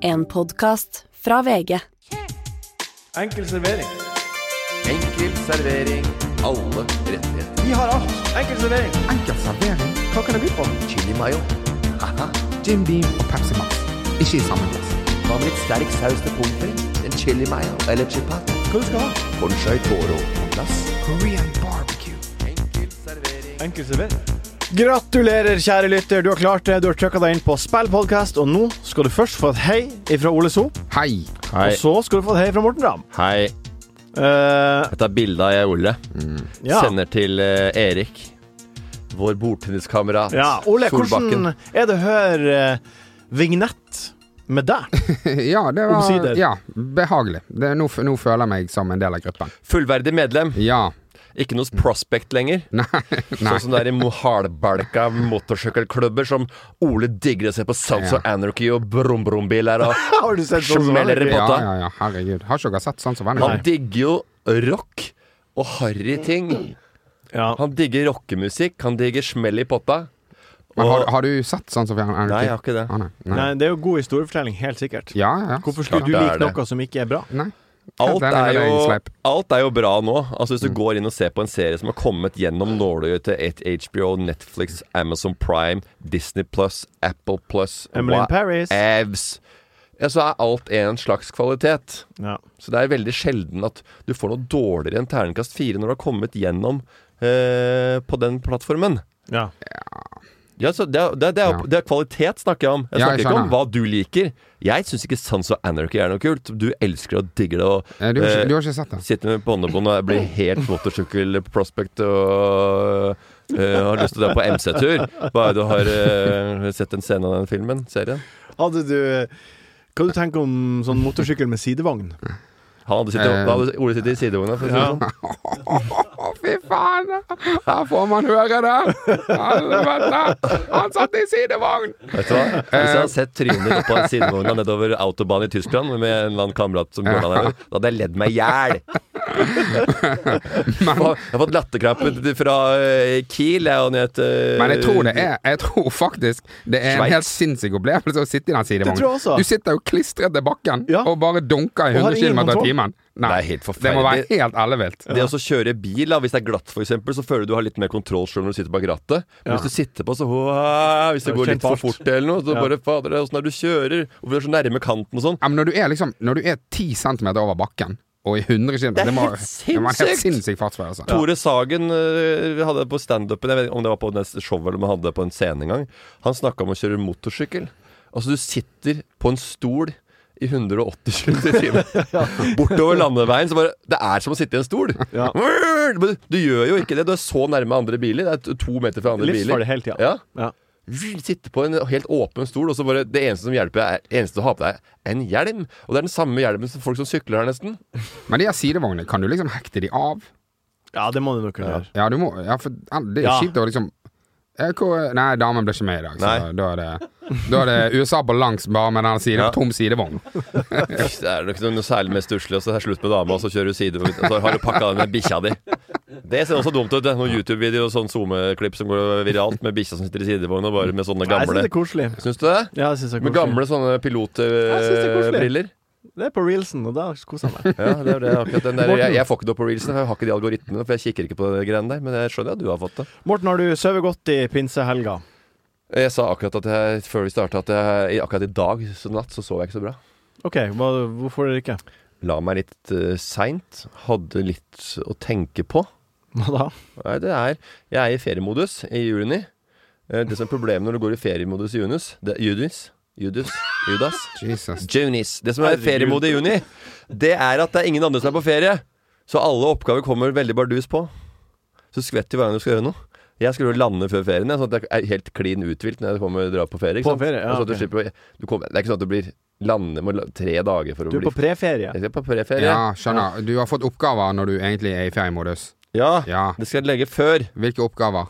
En podkast fra VG. Enkel servering. Enkel servering. Alle rettigheter. Vi har alt. Enkel servering. Enkel servering, Hva kan det by på? Chili mayo. Haha. Jim Beam og Pepsi Max. Ikke i samme glass. Hva med litt sterk saus til pommes frites? En chili mayo eller chipat? Hva du skal ha? Conchai toro på plass. Korean barbecue. Enkel servering. Enkel servering. Gratulerer, kjære lytter. Du har klart det. Du har trykka deg inn på spillpodkast, og nå skal du først få et hei ifra Ole So. Hei! Hei. Og så skal du få et hei fra Morten Ramm. Hei. Eh, Jeg tar bilde av jeg, Ole. ja. Sender til eh, Erik. Vår bordtenniskamerat. ja. Ole, hvordan Solbakken. er det å høre eh, vignett med deg? ja, det var Omsider. ja, behagelig. Det, nå, f- nå føler jeg meg som en del av gruppen. Fullverdig medlem. Ja. Ikke noe prospect lenger. Nei. Nei. Sånn som det er i mo- hardbalka motorsykkelklubber som Ole digger å se på Sounds of Anarchy og brumbrumbiler og Har du sett sånn som Smeller det? det på? Ja, Potta. ja, ja. Herregud. Har ikke dere sett sånn som Han vanlig? digger jo rock og harryting. Ja. Han digger rockemusikk, han digger smell i potta. Men har, Og- har du sett sånn som vanlig? Nei, jeg har ikke det. Ah, nei. Nei. Nei, det er jo god historiefortelling, helt sikkert. Ja, ja, ja. Hvorfor skulle Klart du det er like det. noe som ikke er bra? Nei. Alt Den er, er jo, en sleip. alt er jo bra nå. Altså Mm. Hvis du går inn og ser på en serie som har kommet gjennom nåløyet til et HBO, Netflix, Amazon Prime, Disney Plus, Apple Plus Emily in Paris. Evs ja, Så er alt en slags kvalitet. Ja. Så det er veldig sjelden at du får noe dårligere enn terningkast fire når du har kommet gjennom eh, på den plattformen. ja. Ja, så det, er- det, er- det, er, Ja. det er kvalitet snakker jeg om. Jeg Ja, snakker jeg ikke om skjønner. hva du liker. Jeg syns ikke Sons of Anarchy er noe kult. Du elsker det og digger det. Og, Eh, Du, har eh, ikke, du har ikke sett det? Sitter med båndebånd og blir helt motorsykkelprospect og øh, har lyst til å dra på MC-tur. Bare du har øh, sett en scene av den filmen, serien. Hadde du eh, Hva du tenker om sånn motorsykkel med sidevogn? Han hadde Eh. sittet, da hadde Ole sittet i sidevogna. For å si det sånn. Å, fy faen! Her får man høre det! Helvete! Han satt i sidevogn! Vet du hva? Hvis jeg hadde sett trynet ditt oppå en sidevogn nedover autobahn i Tyskland med en eller annen kamerat som går der, da hadde jeg ledd meg i hjel. Jeg har fått latterkrampe fra øh, Kiel jeg, og eh, ned til Men jeg tror det Eh, er Jeg tror faktisk det er en Sveits. helt sinnssyk opplevelse å sitte i den Det tror jeg også. sidevognen. Du sitter jo klistret til bakken Ja. og bare dunker i Og har 100 ingen km i kontroll. timen. Nei, Det er helt det må være forferdelig. helt ellevilt. Det å så kjøre bil, da, hvis det er glatt f.eks., så føler du du har litt mer kontroll selv når du sitter bak rattet. Men Ja. hvis du sitter på, så «Åh», Hvis det Ja, går kjent litt for fart. fort eller noe, så Ja. bare Fader, åssen er det du kjører? Hvorfor er du så nærme kanten og sånn? Ja, men når du er liksom Når du er 10 cm over bakken og i 100 km Det er Det må helt det må være en helt sinnssykt. sinnssyk fartsvei, altså. Tore Sagen øh, hadde på standupen, jeg vet ikke om det var på det showet eller om han hadde det på en scene en gang, han snakka om å kjøre motorsykkel. Altså, du sitter på en stol i 180 km i timen. Bortover landeveien. Så bare, det er som å sitte i en stol. Ja. Men Du, du gjør jo ikke det. Du er så nærme andre biler. Det er to meter fra andre biler. Livsfarlig hele tida. Ja. Ja. Sitte på en helt åpen stol, og så bare det eneste som hjelper, er det eneste du har på deg, er en hjelm. Og det er den samme hjelmen som folk som sykler her, nesten. Men de her sidevognene, kan du liksom hekte de av? Ja, det må du nok kunne gjøre. Ja, du må Ja, for det er Ja. jo kjipt å liksom eh, hvor- Nei, damen ble ikke med i dag, så Nei. da er det Da er det USA på langs bare med den siden, Ja. tom sidevogn. Det er nok noe særlig mer stusslig, og så er det slutt med dama, og så kjører du side og så har du pakka den med bikkja di. Det ser også dumt ut. det er Noen YouTube-videoer og sånn SoMe-klipp som går viralt, med bikkja som sitter i sidevogna, bare med sånne Jeg syns gamle det er koselig. Syns du det? Ja, jeg synes det er Med koselig. gamle sånne eh, Jeg synes det er koselig. pilotbriller. Det er på reelsen, og da koser jeg meg. Ja, det er det, akkurat den der. Morten. Jeg, jeg får ikke det opp på reelsene, for jeg har ikke de algoritmene, for jeg kikker ikke på de greiene der. Men jeg skjønner at du har fått det. Morten, har du sovet godt i pinsehelga? Jeg sa akkurat at jeg, før vi starta, at jeg, i- akkurat i dag så natt så sov jeg ikke så bra. OK, hva, hvorfor er det ikke? La meg litt uh, seint. Hadde litt å tenke på. Hva da? Nei, det er Jeg er i feriemodus i juni. Eh, Det som er problemet når du går i feriemodus i junus det, Judis. Judus. Judas. Jesus. Junis. Det som er feriemodus i juni, det er at det er ingen andre som er på ferie. Så alle oppgaver kommer veldig bardus på. Så skvett i hver gang du skal gjøre noe. Jeg skulle jo lande før ferien, jeg, sånn at jeg er helt klin uthvilt når jeg kommer og drar på ferie. Ikke På sant? ferie, ja, Og så at du ok. slipper, å- du kommer, det er ikke sånn at du blir landende med la- tre dager for å Du er bli på preferie. Jeg skal på preferie. Ja, skjønner. Du har fått oppgaver når du egentlig er i feriemodus. Ja. Ja. Det skal jeg legge før. Hvilke oppgaver?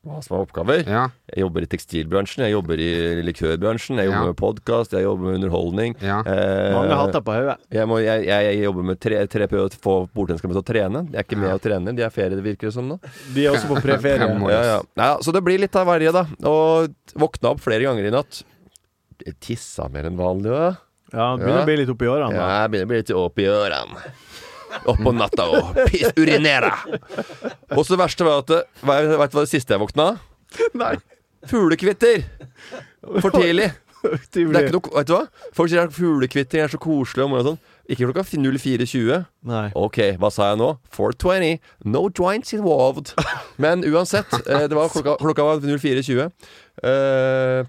Hva som er oppgaver. Ja. Jeg jobber i tekstilbransjen, jeg jobber i likørbransjen, jeg jobber Ja. med podkast, jeg jobber med underholdning. Ja. Eh, Mange hatter på hodet. Jeg, må, jeg, jeg, jeg jobber med tre, tre på å få bordtennisklubbene til å trene. De er ikke med og trener, de er ferie, det virker det som nå. De er også på preferie. Fem år. Ja, ja. Nei, ja, så det blir litt av verre, da. Og våkna opp flere ganger i natt. vært tissa mer enn vanlig òg. Ja, det begynner å bli litt oppi årene. Ja, da. jeg begynner å bli litt opp i ørene. Opp på natta og piss, urinere. Og så det verste var at Veit du hva det siste jeg våkna? Nei. Fuglekvitter! For tidlig. Det er ikke noe, vet du hva? Folk sier at fuglekvitter er så koselig. Og morgen og sånn. Ikke klokka 04.20. Nei. Ok, hva sa jeg nå? 420. No joints involved. Men uansett, eh, det var klokka, klokka var 04.20. Eh,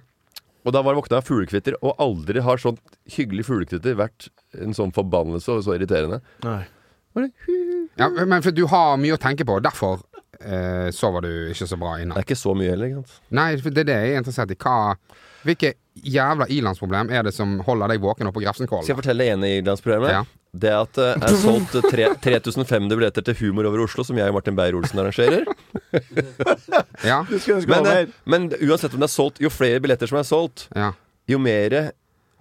og da var jeg våkna av fuglekvitter, og aldri har sånt hyggelig fuglekvitter vært en sånn forbannelse og så irriterende. Nei. Ja, men for du har mye å tenke på, derfor eh, sover du ikke så bra i Det natt. er ikke så mye heller, ikke sant. Nei, for det er det jeg er interessert i. Hva, hvilke jævla ilandsproblem er det som holder deg våken oppe på Skal jeg Grefsenkollen? fortelle det ene i Irlandsprogrammet? Ja. Det at eh, jeg har solgt eh, tre- 3500 billetter til Humor over Oslo, som jeg og Martin Beyer-Olsen arrangerer. Ja, Du skulle ønske det Men, var eh, mer. men uansett om det er solgt, jo flere billetter som er solgt, ja, jo mer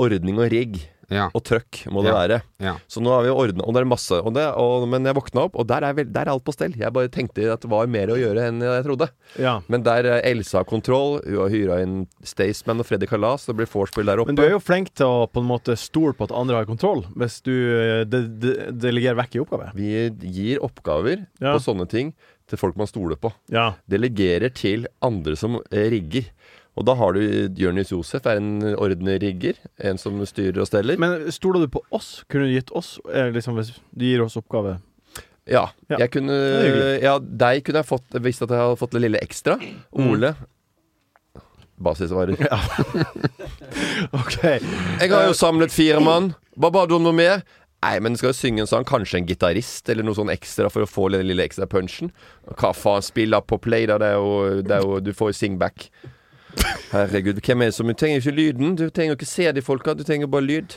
ordning og rigg ja, og trøkk må det Ja. være. ja. Så nå har vi ordna Og det er masse. Og det, og, men jeg våkna opp, og der er, vel, der er alt på stell. Jeg bare tenkte at det var mer å gjøre enn jeg trodde. Ja. Men der eh, Elsa har kontroll, hun har hyra inn Staysman og Freddy Kalas, det blir vorspiel der oppe. Men du er jo flink til å på en måte stole på at andre har kontroll, hvis du eh, de, de, delegerer vekk i oppgave. Vi gir oppgaver Ja. på sånne ting til folk man stoler på. Ja. Delegerer til andre som eh, rigger. Og da har du Jonis Josef er en ordentlig rigger. En som styrer og steller. Men stoler du på oss? Kunne du gitt oss eh, liksom, Hvis du gir oss oppgave? ja, Ja. jeg kunne er hyggelig. Ja, deg kunne jeg fått visst at jeg hadde fått det lille ekstra. Mm. Ole. Basisvarer. OK. Jeg har jo samlet fire mann. Hva ba du om noe mer? Nei, men skal jo synge en sang, kanskje en gitarist eller noe sånn ekstra for å få den lille ekstra punchen. Hva faen, spill da på play, da. Det er jo, det er jo Du får jo singback. Herregud, hvem er det som Du trenger jo ikke lyden. Du trenger jo ikke se de folka, du trenger bare lyd.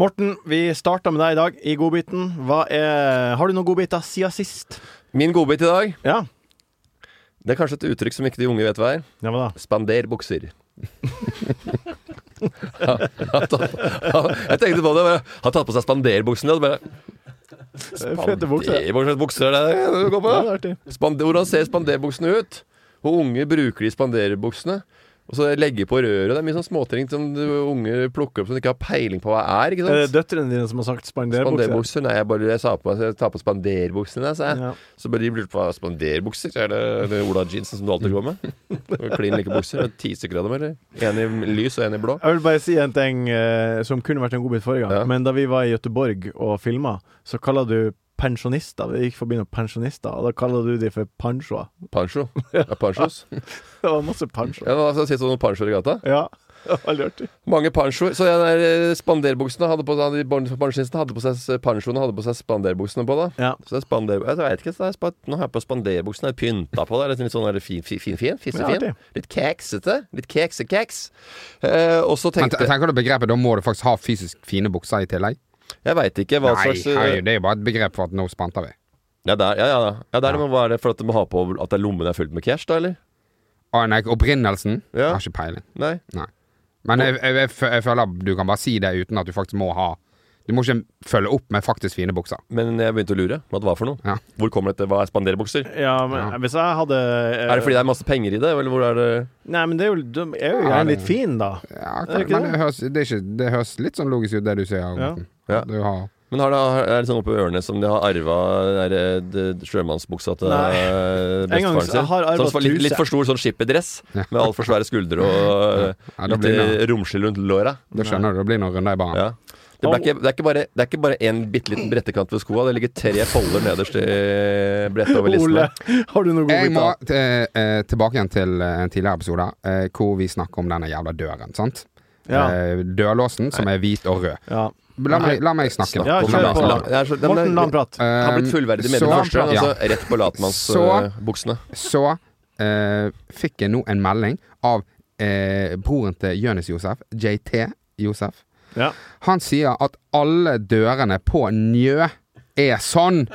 Morten, vi starta med deg i dag i godbiten. Hva er, har du noen godbiter siden sist? Min godbit i dag, Ja. det er kanskje et uttrykk som ikke de unge vet hva er. Ja, hva da? Spander bukser. Han- han- han- jeg tenkte på det. Bare, han tatt på seg spanderbuksene. og så bare, Fete bukser. Det, hva slags bukser er det du går på? Ja, det er artig. Spande- Hvordan ser spanderbuksene ut? Og unge bruker de spanderbuksene. Og så legge på røret. Det er mye sånn småting som du unge plukker opp som de ikke har peiling på hva er. ikke Er Eh, det sant? døtrene dine som har sagt spanderbukse? Spanderbukser? Nei, jeg bare jeg sa på meg jeg tar på spanderbuksene, sa jeg. Ja. Så bare de lurte på hva spanderbukser så er. Det, det er Ola Jeansen som du alltid går med. Det var Klin like bukser. Det er Ti stykker av dem, eller? En i lys og en i blå. Jeg vil bare si en ting eh, som kunne vært en godbit forrige gang. Ja. Men da vi var i Göteborg og filma, så kalla du pensjonister Vi gikk forbi noen pensjonister, og da kalla du de for pansjoer. Pancho. Ja, panchos. Ja, Det var masse pansjoer. det var- så sitter det noen panchoer i gata. Ja. Det var Veldig artig. Mange panchoer. Så den der eh, spanderbuksene hadde på seg Pensjonistene hadde på seg panchoene hadde på seg spanderbuksene på, da. Ja. Så det er spander... Jeg vet ikke, så det er spa- nå har jeg på spanderbuksene jeg pynta på det. er Litt sånn der fin, fin, fin, Men fin fissefin. artig. Litt keksete. Litt keksekeks. Eh, og så Men tenkte te- jeg tenker du begrepet da må du faktisk ha fysisk fine bukser i tillegg? Jeg veit ikke hva Nei, slags eh, herregud, det er jo bare et begrep for at nå spanter vi. Ja, der, ja, ja, ja. ja der, Men hva er det for at du må ha på at det er lommen er fylt med cash, da, eller? Aner jeg ikke opprinnelsen. Ja. Jeg har ikke peiling. Nei. Men jeg, jeg, jeg, fø- jeg føler du kan bare si det uten at du faktisk må ha Du må ikke følge opp med faktisk fine bukser. Men jeg begynte å lure hva det var for noe. Ja. Hvor kommer dette? Hva er spanderbukser? Ja, men hvis jeg hadde eh, Er det fordi det er masse penger i det, eller hvor er det Nei, men det er jo, de er jo gjerne litt fin, da. Ja, Er det ikke men det høres, det, er ikke, det høres litt sånn logisk ut, det du sier. Morten. Ja. Du har Men har det, er det sånn oppe i ørene som de har arva den der, eh, sjømannsbuksa til Nei. eh, En gang bestefaren så sin? har arva Sånn som var litt, truse. litt for stor sånn skipperdress, med altfor svære skuldre og Ja, eh, da litt blir eh, romslig rundt låra. Da skjønner du, det blir noen runder i baren. Ja. Det, ble ikke, det, er ikke bare, det er ikke bare en bitte liten brettekant ved skoa, det ligger tre folder nederst i brettet over Ole, listene. har du noe god Jeg må bit? t- eh, tilbake igjen til eh, en tidligere episode eh, hvor vi snakker om denne jævla døren. sant? Ja. Eh, Dørlåsen som er hvit og rød. Ja. La meg, la meg snakke. Ja, nå. Kom kjør igjen, på. la- det er så- det er- Morten, la han prate. Eh, Har blitt fullverdig med i så- første, ja. altså rett på eh, Så- latmannsbuksene. Så eh, fikk jeg nå en melding av eh, broren til Jonis Josef, JT Josef. Ja. Han sier at alle dørene på Njø er sånn.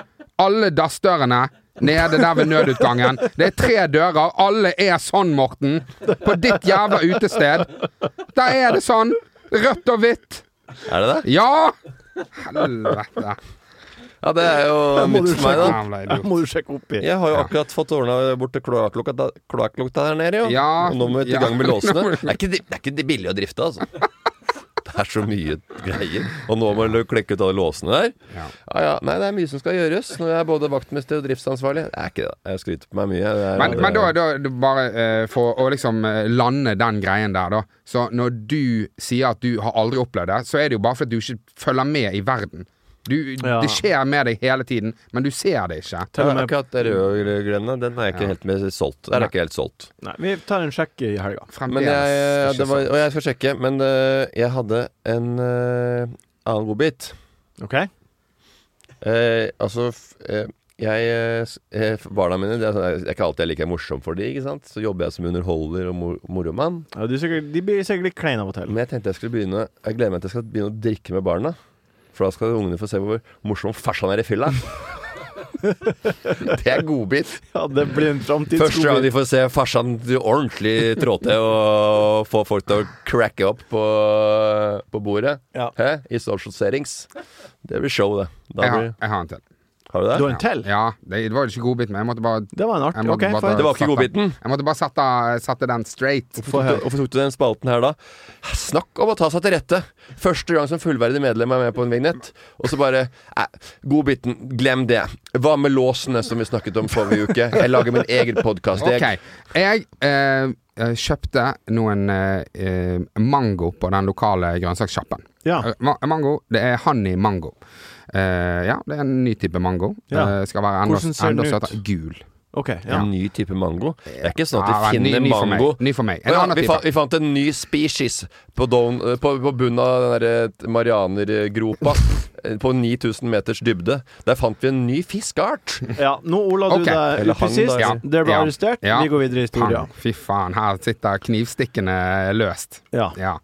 Alle dassdørene nede der ved nødutgangen. Det er tre dører. Alle er sånn, Morten. På ditt jævla utested. Der er det sånn. Rødt og hvitt. Er det det? Ja! Helvete. Ja, det er jo må nytt du for meg, da. Jævla Det idiot. må du sjekke opp i. Jeg har jo Ja. akkurat fått ordna bort til kloakklukka da- kloakklukta her nede, jo. Ja, Og nå må vi ja. i gang med Nå må låsene. du- Det er ikke, det er ikke billig å drifte, altså. Det er så mye greier. Og nå må du klekke ut alle låsene der. Ja. Ja, ja. Nei, det er mye som skal gjøres når jeg er både vaktmester og driftsansvarlig. Det er ikke det. Jeg skryter på meg mye. Det er- Men, men da, da da bare eh, for å liksom eh, lande den greien der, da. Så når du sier at du har aldri opplevd det, så er det jo bare fordi du ikke følger med i verden. Du, Ja. Det skjer med deg hele tiden, men du ser det ikke. Til og Ja, med- Akkurat det røde greiene, den er jeg ikke helt med solgt. Der er jeg ikke helt solgt. Nei, vi tar en sjekk i helga. Men Fremdeles. jeg, eh, ikke det var, sant. og jeg skal sjekke, men øh, jeg hadde en øh, annen godbit. OK? Eh, altså f, eh, jeg, eh, s- eh, f- Barna mine det er, sånn- det er ikke alltid jeg er like morsom for de ikke sant? Så jobber jeg som underholder og mor moromann. Ja, du er sikkert, de blir sikkert litt kleine av og til. Men jeg tenkte jeg skulle begynne Jeg gleder meg til jeg skal begynne å drikke med barna. For da skal ungene få se hvor morsom farsan er i fylla. det er godbit. Ja, det blir en Første gang de framtidsskole. får se farsan ordentlig trå til og få folk til å cracke opp på, på bordet Ja. Hæ? i social settings. Det blir show, det. Da jeg, har, blir, jeg har en til. har du det? Du har en til? Ja, det, det var jo ikke godbit, men jeg måtte bare Det var en jeg artig. måtte OK, bare få Det høre. var ikke sette- godbiten. Jeg måtte bare sette, sette den straight. Hvorfor tok, du, hvorfor tok du den spalten her da? Snakk om å ta seg til rette! Første gang som fullverdig medlem er med på en vignett, og så bare eh, Godbiten, glem det. Hva med låsene som vi snakket om forrige uke? Jeg lager min egen podkast. Ok. Jeg eh, eh, kjøpte noen eh, eh, mango på den lokale grønnsakssjappen. Ja. Eh, ma mango, det er honey mango. Eh, ja, det er en ny type mango. Ja. Eh, skal være enda, Hvordan ser den enda ut? søtere. Gul. OK. Ja. En ny type mango? Det er ikke sånn at Ja, de finner ny, ny for mango meg. Ny for meg. Å En ja, annen vi, fa type. vi fant en ny species på, don, eh, på, på bunnen av den der, eh, Marianergropa. eh, På 9000 meters dybde. Der fant vi en ny fiskeart! ja. Nå ola du Ok. deg Eller ut han, sist. da. Ja. Dere ble Ja. arrestert. Ja. Vi går videre i historien. Faen, Fy faen, her sitter knivstikkene løst. Ja. Ja.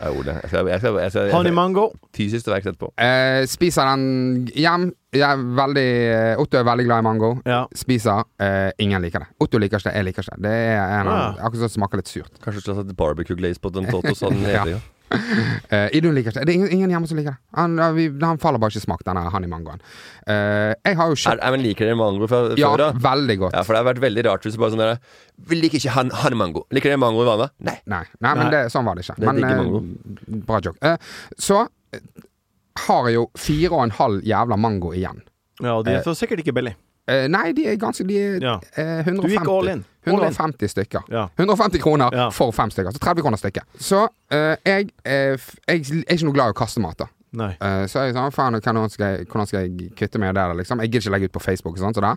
Ja, Ole, jeg skal, jeg skal, jeg skal, jeg Honey skal, mango. Fysisk verk etterpå. Eh, spiser den hjem. Jeg er veldig, eh, Otto er veldig glad i mango. Ja. Spiser. Eh, ingen liker det. Otto liker ikke det, jeg liker ikke det. Det er en, av- Ah. akkurat som det smaker litt surt. Kanskje du skulle hatt barbecue glaze på den Totos. Han hele Ja. tiden. Eh, Idun liker ikke det. Det er ingen, ingen hjemme som liker det. Han, eh, vi, han faller bare ikke i smak, denne honeymangoen. Eh, jeg har er, jo kjøpt er, men Liker dere mango fra Ja, før av? veldig godt. Ja, for det har vært veldig rart hvis du bare sånn der Vi liker ikke han, han mango. Liker dere mango i vannet? Nei. Nei, nei, men Nei. det, sånn var det ikke. Det Men, digger eh, mango. bra joke. Eh, så eh, har jeg jo fire og en halv jævla mango igjen. Ja, og de er sikkert ikke billig. Eh, nei, de er ganske De er Ja. eh, Du 150, gikk all in. All in. 150 stykker. Ja. 150 kroner Ja. for fem stykker. Så 30 kroner stykket. Så eh, jeg, eh, f- jeg er ikke noe glad i å kaste mat, da. Nei. Eh, så er jeg sånn, faen, hvordan skal jeg, hvordan skal jeg kutte meg i det der, liksom? Jeg gidder ikke legge ut på Facebook og sånt, så da.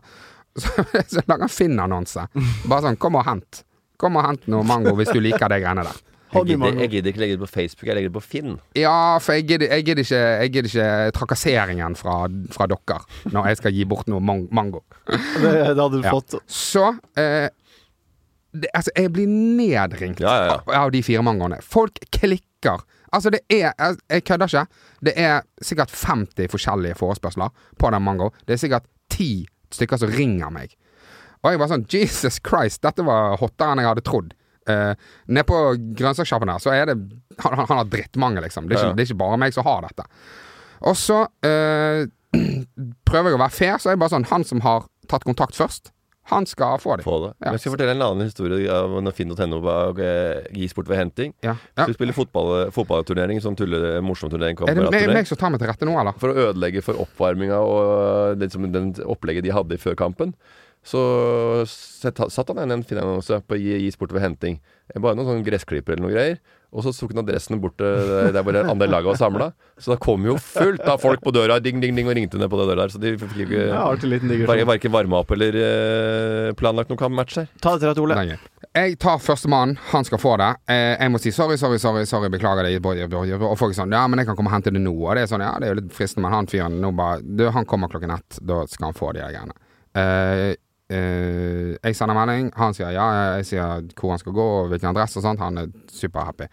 Så, så lager jeg en Finn-annonse. Bare sånn, kom og hent. Kom og hent noe mango hvis du liker de greiene der. Jeg Honey gidder, mango. jeg gidder ikke legge det på Facebook, jeg legger det på Finn. Ja, for jeg gidder, jeg gidder, ikke, jeg gidder ikke trakasseringen fra, fra dere når jeg skal gi bort noe mang- mango. Det, det hadde du Ja. fått. Så eh, det, Altså, jeg blir nedringt Ja, ja, ja. av- av de fire mangoene. Folk klikker. Altså, det er Jeg, jeg kødder ikke. Det er sikkert 50 forskjellige forespørsler på den mango. Det er sikkert ti stykker som ringer meg. Og Og jeg bare sånn Jesus Christ, dette var hottere enn jeg hadde trodd. Uh, Nede på grønnsakssjappen her, så er det Han, han han har drittmange, liksom. Det er, ikke, det er ikke bare meg som har dette. Og så eh, prøver jeg å være fair, så er det bare sånn Han som har tatt kontakt først, han skal få det. Få det. Ja. Men jeg skal fortelle en annen historie av når finn.no var eh, e-sport ved henting. Ja. Ja. Så vi spiller fotball, fotballturnering, sånn tulle, morsom turnering. Er det meg, kameratturnering. meg som tar meg til rette nå, eller? For å ødelegge for oppvarminga og eh, det, som, den opplegget de hadde før kampen, så sett, satt han igjen i en finannonse på Gi Gi sport ved henting. Bare noen sånn gressklipper eller noe greier. Og så tok han adressen bort til der hvor det andre laget var samla. Så da kom jo fullt av folk på døra ding, ding, ding, og ringte ned på det døra der. Så de fikk jo Ja, ikke alltid en liten digresjon. var- Verken varma opp eller eh, planlagt noen match her. Ta det til rette, Ole. Lenge. Jeg tar førstemann, han skal få det. Eh, jeg må si sorry, sorry, sorry, sorry beklager det. Og folk er sånn Ja, men jeg kan komme og hente det nå. Og det er sånn, ja, det er jo litt fristende, men han fyren nå bare Du, han kommer klokken ett, da skal han få de her greiene. Eh, eh, jeg sender melding, han sier ja, jeg sier hvor han skal gå, og hvilken adresse og sånt. Han er superhappy.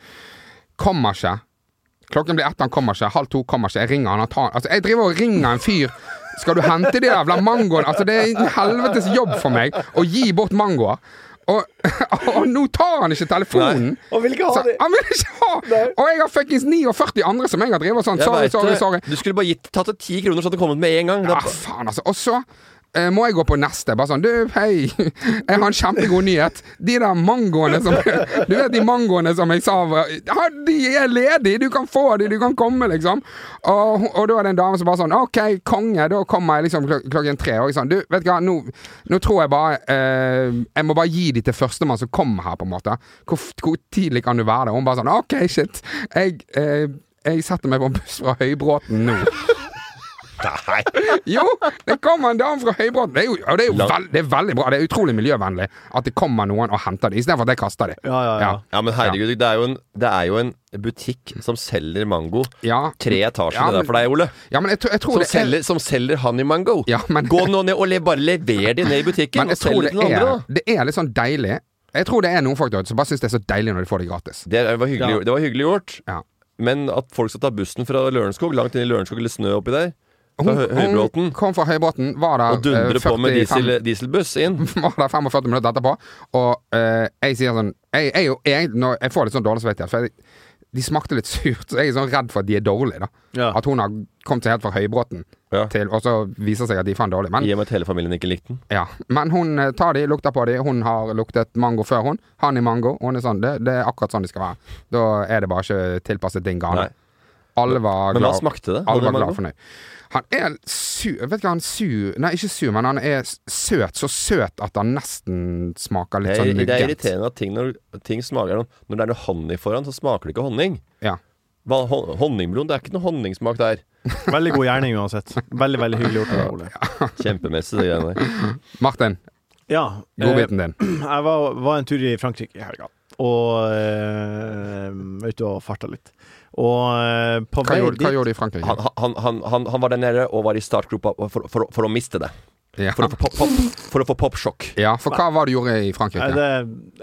Kommer ikke. Klokken blir ett, han kommer ikke. Halv to kommer ikke. Jeg ringer han, han tar Altså, jeg driver og ringer en fyr. Skal du hente de jævla mangoene? Altså, det er en helvetes jobb for meg å gi bort mangoer. Og, og nå tar han ikke telefonen! Han vil ikke ha Så, det. han vil ikke ha! Og jeg har fuckings 49 andre som jeg har drevet sånn. Jeg Sorry, vet sorry, det. sorry. Du skulle bare gitt, tatt det ti kroner, så hadde det kommet med en gang. Det- Ja, faen, altså. Og så eh, må jeg gå på neste. Bare sånn Du, hei, jeg har en kjempegod nyhet. De der mangoene som Du vet de mangoene som jeg sa var ja, De er ledige! Du kan få de, du kan komme, liksom. Og, og da er det en dame som bare sånn OK, konge, da kommer jeg liksom klok klokken tre. Og jeg sånn Du, vet du hva, nå, nå tror jeg bare eh, Jeg må bare gi de til førstemann som kommer her, på en måte. Hvor, f- hvor tidlig kan du være der? Og hun bare sånn OK, shit. Jeg, eh, jeg setter meg på en buss fra Høybråten nå. Jo, det kommer en dame fra Høybråten. Det er jo, og det er jo veld, det er veldig bra. Det er utrolig miljøvennlig at det kommer noen og henter dem, istedenfor at jeg kaster dem. Ja, ja, ja. Ja, men herregud, Det, er jo en, det er jo en butikk som selger mango. Ja. Tre etasjer Ja, det men- der for deg, Ole. Ja, men jeg, tror- jeg tror Som, det er selger, som selger honey mango. Ja, men- Gå nå ned og le, bare lever det ned i butikken, Men og jeg selg tror det det til andre. er, da. det er litt sånn deilig. Jeg tror det er noen folk der ute som bare syns det er så deilig når de får det gratis. Det var hyggelig, Ja. gjort- det var hyggelig gjort. Ja. Men at folk skal ta bussen fra Lørenskog, langt inn i Lørenskog eller snø oppi der, fra Hø- Høybråten, Hun kom fra Høybråten, var der og dundre eh, på med 45 diesel, dieselbuss inn var der 45 minutter etterpå, og eh, jeg sier sånn Jeg, jeg, er jo egentlig- når, jeg får litt sånn dårlig samvittighet, for jeg, de smakte litt surt, så jeg er sånn redd for at de er dårlige, da. Ja. At hun har kommet seg helt fra Høybråten Ja. til, og så viser det seg at de er faen dårlige. Men, I og med at hele familien ikke likte den. ja. Men hun eh, tar de, lukter på de, hun har luktet mango før hun, han i mango, hun er sånn Det, det er akkurat sånn de skal være. Da er det bare ikke tilpasset din gane. Nei. Alle var Men hva glad. smakte det? Alle Hadde var glad mango? fornøyd. Han er sur Vet ikke hva han er sur Nei, ikke sur, men han er s- søt. Så søt at han nesten smaker Det litt er, sånn det er muggent. irriterende at ting, når, ting smaker noe- Når det er noe honning foran, så smaker det ikke honning. Ja. Hva- hon- Honningbroen, det er ikke noe honningsmak der. Veldig god gjerning uansett. Veldig, veldig hyggelig gjort av deg, Ole. Kjempemessig, det greiene der. Martin, Ja. eh, godbiten din. Jeg var, var en tur i Frankrike i helga, og eh, ute og farta litt. Og eh, på Hva vei gjorde, hva dit gjorde du i Frankrike? Han, han, han, han, han var der nede og var i startgropa for, for, for å miste det. Ja. For å få pop- pop- for å få popsjokk. ja, for hva var det du gjorde i Nei, Frankrike? det,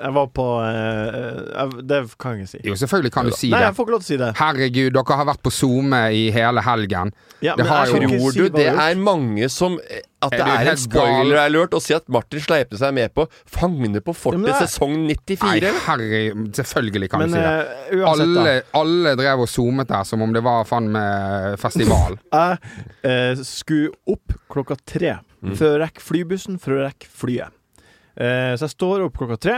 Jeg var på eh, jeg, Det kan jeg ikke si. Jo, selvfølgelig kan du si Nei, det. jeg får ikke lov til å si det. Herregud, dere har vært på SoMe i hele helgen. Ja, Det men har jeg skal jo- ikke Tror si du hva det jeg har er mange som eh, At det Er er du en helt spoiler-alert å si at Martin Sleipne seg med på Fangene på Ja, men det fortet er- sesong Nei, 94? herregud, selvfølgelig kan gjort. du si det. Men eh, uansett, da. Alle, alle drev og zoomet der som om det var faen meg festival. Jeg eh, skulle opp klokka tre for å rekke flybussen, for å rekke flyet. Eh, så jeg står opp klokka tre,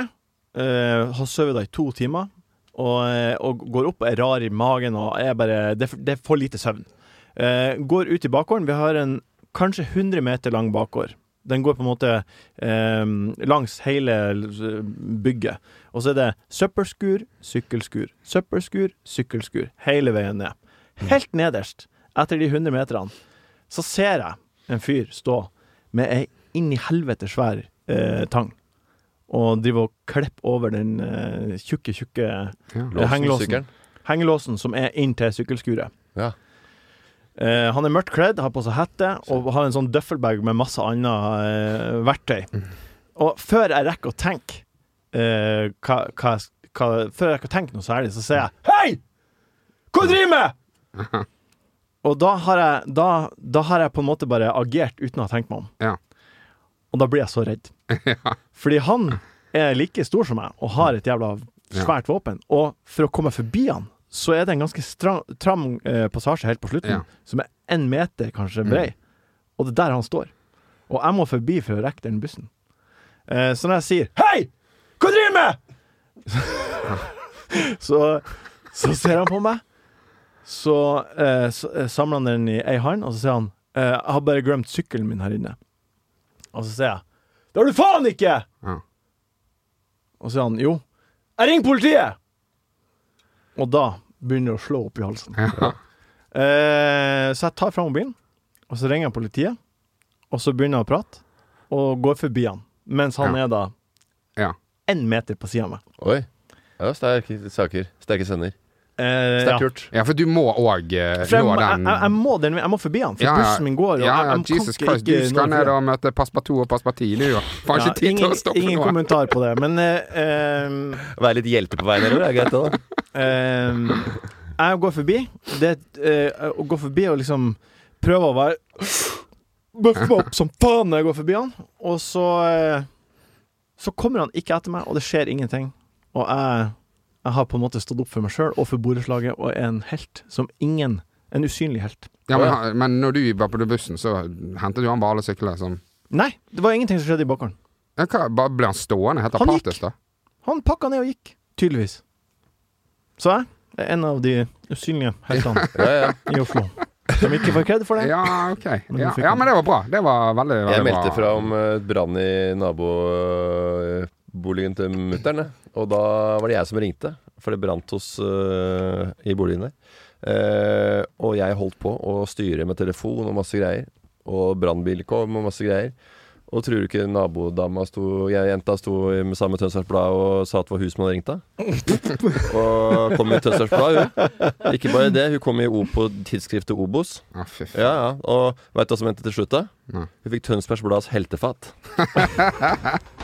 eh, har sovet da i to timer, og, eh, og går opp og er rar i magen og er bare Det, er for- det er for lite søvn. Eh, går ut i bakgården. Vi har en kanskje 100 meter lang bakgård. Den går på en måte eh, langs hele eh, bygget. Og så er det søppelskur, sykkelskur, søppelskur, sykkelskur. Hele veien ned. Helt nederst, etter de 100 meterne, så ser jeg en fyr stå med ei inn i helvete svær eh, tang. Og drive og klippe over den eh, tjukke, tjukke Låsen i hengelåsen. sykkelen. hengelåsen som er inn til sykkelskuret. Ja. Eh, han er mørkt kledd, har på seg hette og har en sånn døffelbag med masse annet eh, verktøy. Og før jeg rekker å tenke eh, hva, hva, jeg- hva, Før jeg rekker å tenke noe særlig, så sier jeg Hei! Hva driver du med?! Og da har, jeg, da, da har jeg på en måte bare agert uten å ha tenkt meg om. Ja. Og da blir jeg så redd. Fordi han er like stor som meg og har et jævla svært våpen. Og for å komme forbi han, så er det en ganske stra- tram eh, passasje helt på slutten, Ja. som er én meter kanskje brei. Og det er der han står. Og jeg må forbi for å rekke den bussen. Eh, så når jeg sier 'Hei! Hva driver du med?' så, så ser han på meg. Så, eh, s- eh, samler han den i ei hånd, og så sier han eh, 'Jeg har bare glemt sykkelen min her inne'. Og så sier jeg 'Det har du faen ikke!' Ja. Og så sier han 'Jo, jeg ringer politiet'. Og da begynner det å slå opp i halsen. Eh, så jeg tar fra mobilen, og så ringer jeg politiet. Og så begynner jeg å prate, og går forbi han. Mens han Ja. er da Ja. én meter på sida av meg. Oi. Ja, sterke saker. Sterke sender. Eh, Sterkt ja. gjort. ja, for du må òg eh, For jeg, nå må- jeg, den. jeg, jeg, må den, jeg må forbi han, for bussen min går. Og ja, jeg, ja, jeg kan Jesus ikke- ikke Christ, du skal nå ned forbi. og møte Passepartout og Passeparti. Du har faen Ja, ikke tid til ingen, å stoppe ingen noe. kommentar på det, men eh, eh, Være litt hjelte på veien nedover er greit, det, da. Ehm, jeg går forbi. Det, eh, å gå forbi og liksom prøve å være Bøffe meg opp som faen når jeg går forbi han. Og så eh, Så kommer han ikke etter meg, og det skjer ingenting. Og jeg, jeg har på en måte stått opp for meg sjøl og for borettslaget og er en helt som ingen En usynlig helt. Ja, men, han- men når du var på den bussen, så hentet du han bare alle syklene som Nei, det var ingenting som skjedde i bakgården. ja, hva, Bare ble han stående helt Han gikk. apatisk, da? Han pakka ned og gikk. Tydeligvis. Så jeg er en av de usynlige heltene Ja, ja. i Oslo. Som ikke får kred for det. Ja, ok. Men du Ja, fikk ja, han. men det var bra. Det var veldig, veldig Jeg meldte bra. fra om eh, brann i naboboligen til mutter'n. Og da var det jeg som ringte, for det brant hos, eh, i boligen der. Eh, og jeg holdt på å styre med telefon og masse greier. Og brannbil kom og masse greier. Og tror du ikke nabodama sto jeg, Jenta sto i- med samme Tønsbergs Blad og sa at det var hun som hadde ringt deg? og kom i Tønsbergs Blad, hun. Ikke bare det, hun kom i O på tidsskriftet Obos. Ja, fy faen. Ja, ja. Og veit du hva som endte til slutt, da? Nei. Hun fikk Tønsbergs Blads heltefat.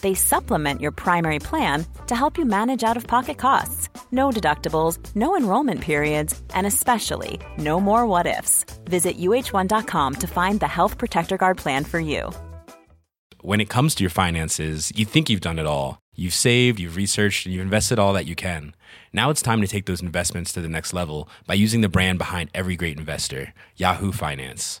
They supplement your primary plan to help you manage out of pocket costs. No deductibles, no enrollment periods, and especially no more what ifs. Visit uh1.com to find the Health Protector Guard plan for you. When it comes to your finances, you think you've done it all. You've saved, you've researched, and you've invested all that you can. Now it's time to take those investments to the next level by using the brand behind every great investor, Yahoo Finance.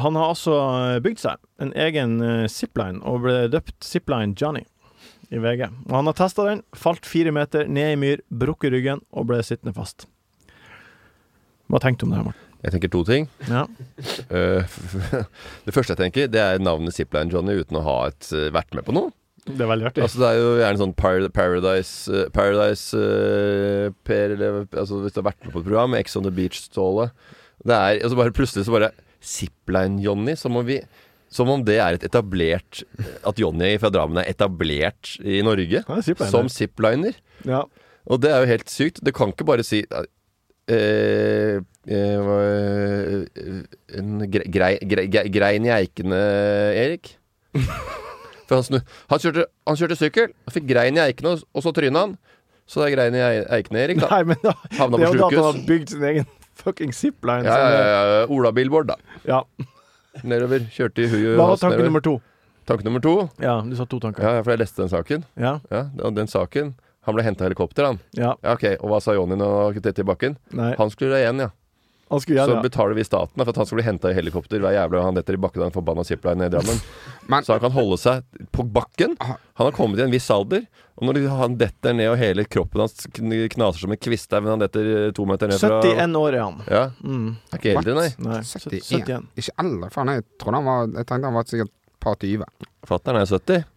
Han har altså eh, bygd seg en egen eh, zipline og ble døpt Zipline Johnny i VG. Og han har testa den, falt fire meter ned i myr, brukket ryggen og ble sittende fast. Hva tenkte du om det her, Morten? Jeg tenker to ting. Ja. Eh, det første jeg tenker, det er navnet Zipline Johnny uten å ha et, eh, vært med på noe. Det er veldig artig. Altså Det er jo gjerne sånn par Paradise eh, Paradise eh, per, eller, altså, Hvis du har vært med på et program, Ex on the Beach-stålet Det er altså bare plutselig så bare Zipline Johnny, som om vi som om det er et etablert At Johnny fra Drammen er etablert i Norge Han er zipliner. som zipliner. Ja. Og det er jo helt sykt. Det kan ikke bare si eh, eh, hva- eh, en grei, grei, grei, grei- Grein i eikene, Erik. For han, snu, han, kjørte, han kjørte sykkel, han fikk grein i eikene, og- og så tryna han. Så det er grein i ei- eikene, Erik. Da. Nei, men da, det Havna er på jo da at han sjukehus. har bygd sin egen fucking zipline. Ja, ja, ja, ja. Ola Billboard, da. ja. Nedover. Kjørte i huet. Hva og var halsen tanke nedover. nummer to? Tanke nummer to. Ja, du sa to tanker. Ja, ja, for jeg leste den saken. Ja. Ja, og den saken Han ble henta i helikopter, han. ja. Ja, ok, Og hva sa Jonny når han kuttet i bakken? Nei. Han skulle dra igjen, ja. Han skulle gjerne- så betaler vi staten da, for at han skal bli henta i helikopter hver jævla gang han detter i bakken av en forbanna zipline ned i Drammen. så han kan holde seg på bakken. Han har kommet i en viss alder. Og når han detter ned og hele kroppen hans kn- knaser som en kvisthaug når han detter eh, to meter ned fra 71 år er han. Ja. Mm. Er ikke eldre, nei. Nei, 71. 71. Ikke eldre, faen. Jeg trodde han var Jeg tenkte han var sikkert et par 20. Fatter'n er 70.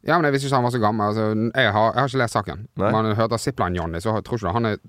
Ja, men jeg visste ikke han var så gammel. Altså, jeg, har, jeg har ikke lest saken. Nei. Man hørte Zipline Johnny, så tror ikke du han er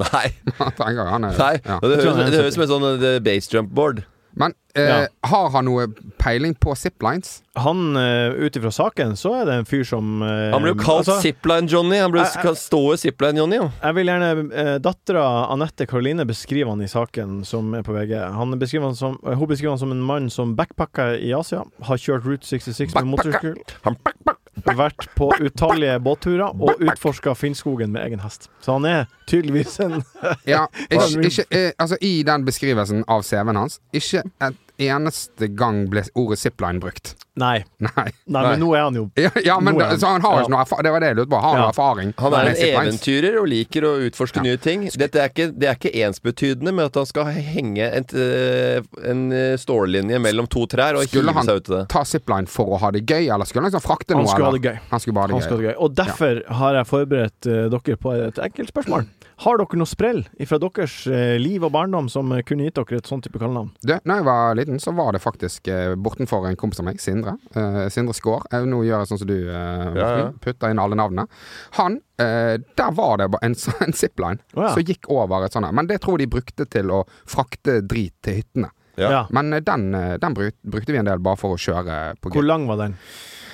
Nei. Man tenker jo han er nei. Ja. Det Jeg tror han er høres det høres ut som en sånn eh, det- base jump board. Men eh, Ja. har han noe peiling på ziplines? Han, uh, ut ifra saken, så er det en fyr som eh, Han ble jo kalt altså, Zipline-Johnny. Han ble Jeg- jeg- kalt ståe Zipline-Johnny, jo. Jeg vil gjerne uh, Dattera Anette Karoline beskriver han i saken som er på VG. Han beskriver han som, eh, hun beskriver han som en mann som backpacker i Asia, har kjørt Route 66 med Backpacker. motorsykkel, Han bak, bak. vært på utallige båtturer og utforska Finnskogen med egen hest. Så han er tydeligvis en Ja, Hva- ikke, ikke, eh, altså I den beskrivelsen av CV-en hans, ikke et eneste gang ble ordet zipline brukt. Nei. Nei. Nei, men nå er han jo Ja, ja men Nå er da, Så han har ja. ikke noe erfaring? Det var det jeg lurte på. Har han Ja. noe erfaring? Han er med en ziplines? eventyrer og liker å utforske nye ting. Dette er ikke, det er ikke ensbetydende med at han skal henge en, en eh, stållinje mellom to trær og Skulle hive han seg ut i det. ta zipline for å ha det gøy, eller skulle han liksom frakte Han noe? skulle ha eller? det gøy. Han skulle bare ha Han det skal ha gøy. det gøy. Og derfor har jeg forberedt eh, dere på et enkelt spørsmål. Har dere noe sprell fra deres eh, liv og barndom som eh, kunne gitt dere et sånt type kallenavn? Du, når jeg var liten, så var det faktisk eh, bortenfor en kompis av meg, Sindre. Eh, Sindre Skaar. Eh, nå gjør jeg sånn som du, eh, Ja, ja. Morten, putter inn alle navnene. Han eh, Der var det bare en, sånn- en zipline Å, ja. som gikk over et sånt her. Men det tror jeg de brukte til å frakte drit til hyttene. Ja. Men eh, den, eh, den bruk, brukte vi en del bare for å kjøre på Hvor gøy. lang var den?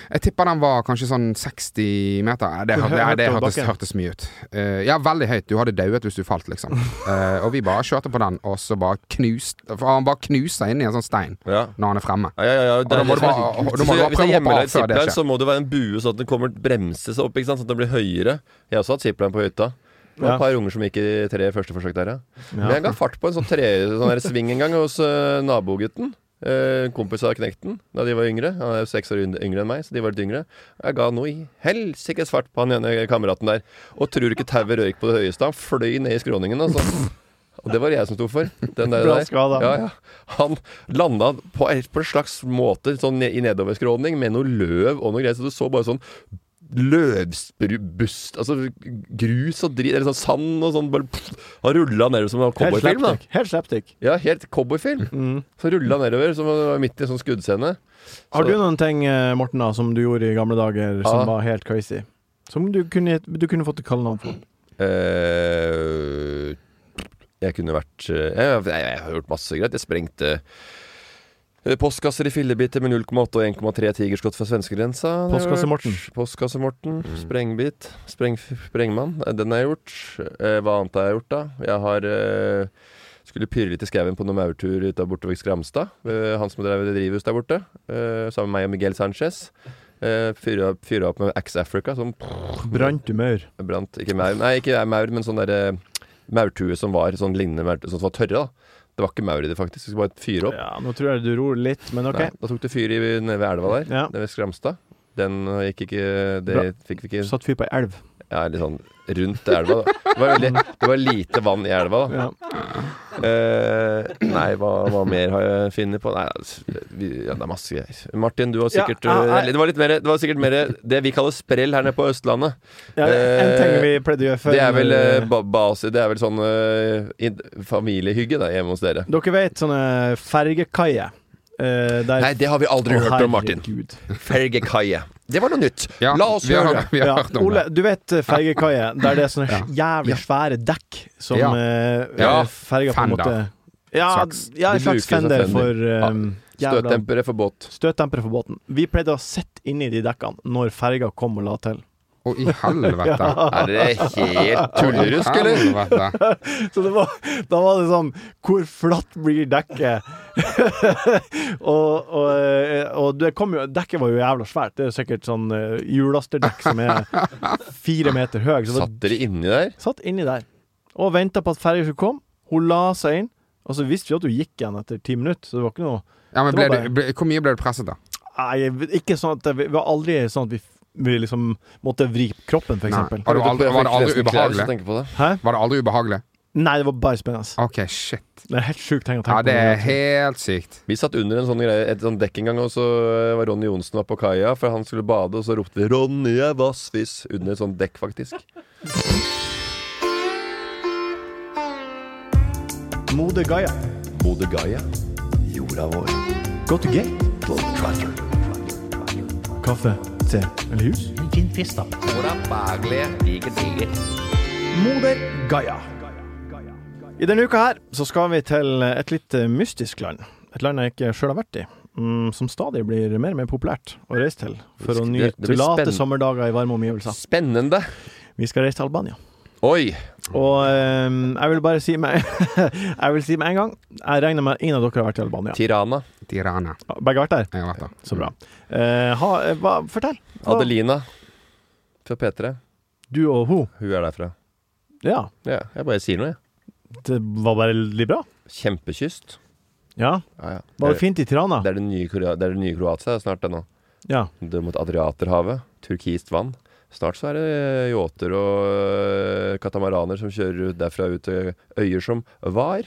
Jeg tipper den var kanskje sånn 60 meter. Eh, Det, Hvor hørte- høyt eh, det over hørtes, bakken? hørtes mye ut. Eh, ja, veldig høyt. Du hadde dauet hvis du falt, liksom. Eh, og vi bare kjørte på den, og så bare knust For han bare knuser inn i en sånn stein Ja. når han er fremme. Ja, ja, ja, ja. da må du bare- da må du Så Hvis bare det prøve å er hjemmeleid hoppe av før det zipline, skjer. så må det være en bue sånn at den kommer bremses opp, ikke sant? sånn at den blir høyere. Jeg har også hatt zipline på hytta. Det var Ja. et par unger som gikk i tre første forsøk der, ja. Men Ja. jeg ga fart på en sånn, tre, sånn der sving en gang hos eh, nabogutten. Eh, kompis av knekten da de var yngre. Han er jo seks år yngre yngre enn meg, så de var litt yngre. Jeg ga noe i helsikes fart på han ene kameraten der. Og tror ikke tauet røyk på det høyeste. Han fløy ned i skråningen, altså. Og det var det jeg som sto for. Den der, Bra der. skada. Ja, ja. Han landa på, på en slags måte sånn i nedoverskråning med noe løv og noe greier, så du så bare sånn Løvbust Altså grus og drit, eller sånn sand og sånn. Bare, pff, han rulla nedover som en Helt cowboyfilm. da. slapstick. Helt slapstick. Mm. Ja, helt cowboyfilm. Så rulla nedover som om det var midt i en sånn skuddscene. Har Så- du noen ting, eh, Morten, da, som du gjorde i gamle dager som Ja. var helt crazy? Som du kunne, du kunne fått et kallenavn for? Eh, jeg kunne vært eh, jeg, jeg, jeg har gjort masse greit. Jeg sprengte eh, postkasser i fillebiter med 0,8 og 1,3 tigerskott fra svenskegrensa. Det har jeg Postkasse gjort. Morten. Postkasse Morten. Sprengbit. Spreng, sprengmann. Eh, Den har jeg gjort. Eh, hva annet har jeg gjort, da? Jeg har eh, skulle pyrre litt i skauen på noen maurtur ut av borte ved Skramstad. Eh, han som drev det drivhus der borte. eh, sammen med meg og Miguel Sanchez. Uh, Fyra fyra opp med Axe Africa, som Brant du maur? brant Ikke maur, nei, ikke maur, men sånn derre maurtue som var sånn lignende maurtue, sånn som var tørre, da. Det var ikke maur i det, faktisk. Det skulle bare fyre opp. Ja, nå tror jeg du ror litt, men OK. Nei, da tok det fyr i, nede ved elva der, Ja. nede ved Skramstad. Den eh, gikk ikke Det Bra. fikk vi ikke Du satte fyr på ei elv. Ja, litt sånn rundt elva, da. Det var, veldig, det var lite vann i elva, da. Ja. Eh, nei, hva, hva mer har jeg funnet på? Nei, altså, vi, ja, det er masse greier. Martin, du har Ja, sikkert ja, eh, jeg- Det var litt mer Det var sikkert mer det vi kaller sprell her nede på Østlandet. Ja, en ting vi pleide å gjøre før Eh, Det er vel eh, ba base Det er vel sånn eh, in- familiehygge da, hjemme hos dere. Dere vet sånne fergekaier? eh, der- Nei, det har vi aldri Å, hørt om, Martin. herregud. Fergekaie. Det var noe nytt. Ja, La oss vi har, høre. Vi har Ja, hørt om Ole, det. du vet eh, fergekaie, der det er sånne Ja. jævlig svære dekk som Ja. eh, Ja, eh, ferga på en fender. måte Ja, Slags. ja en De slags bruker sånn som fender fender. for eh, jævla Støtdempere for båt. Støtdemper for båten. Vi pleide å sitte inni de dekkene når ferga kom og la til. Å, i helvete. Er dere helt tullerusk, eller? Helvete. Så det var, da var det sånn Hvor flatt blir dekket? og og, eh, og det kom jo, dekket var jo jævla svært. Det er jo sikkert sånn eh, julasterdekk som er fire meter høy. Så det var Satt dere inni der? Satt inni der og venta på at ferja skulle komme. Hun la seg inn, og så visste vi at hun gikk igjen etter ti minutter. Så det var ikke noe Ja, men Det var ble du, ble, hvor mye ble du presset, da? Nei, ikke sånn at det, det var aldri sånn at vi, vi liksom måtte vri kroppen, for Nei. eksempel. Har du aldri, var det aldri Jeg fikk nesten klær hvis ubehagelig? jeg tenker på det. Hæ? Var det aldri ubehagelig? Nei, det var bare spennende. OK, shit. Det er helt sjukt ting å Ja, tenke det er på. helt sykt. Vi satt under en sånn greie, et sånn dekk en gang, og så eh, var Ronny Johnsen var på kaia, for han skulle bade, og så ropte vi 'Ronny er vassfiss' under et sånt dekk, faktisk. Mode Gaia. Bodø Gaia, jorda vår. Go to gate. Globe Trotter. Kaffe, te eller hus? Moder Gaia. I denne uka her så skal vi til et litt mystisk land. Et land jeg ikke sjøl har vært i. mm, Som stadig blir mer og mer populært å reise til for å Det- det nyte blir late spenn- sommerdager i varme omgivelser. Spennende! Vi skal reise til Albania. Oi! Og ehm, jeg vil bare si med Jeg vil si med en gang Jeg regner med at ingen av dere har vært i Albania. Tirana. Tirana. Begge har vært der? Jeg har vært der. Så bra. Eh, ha, eh, hva, fortell. Hva- Adelina fra P3. Du og hun. Hun er derfra. Ja, Ja, jeg bare sier noe, jeg. det var bare litt bra. Kjempekyst. Ja, Ja, ja. Var det Det, fint i Tirana? er- Eh, det, er det, nye, Korea- det er det nye Kroatia snart, det nå. Ja. Det er mot Adriaterhavet. Turkist vann. Snart så er det yachter og øh, katamaraner som kjører ut derfra ut til øyer som var.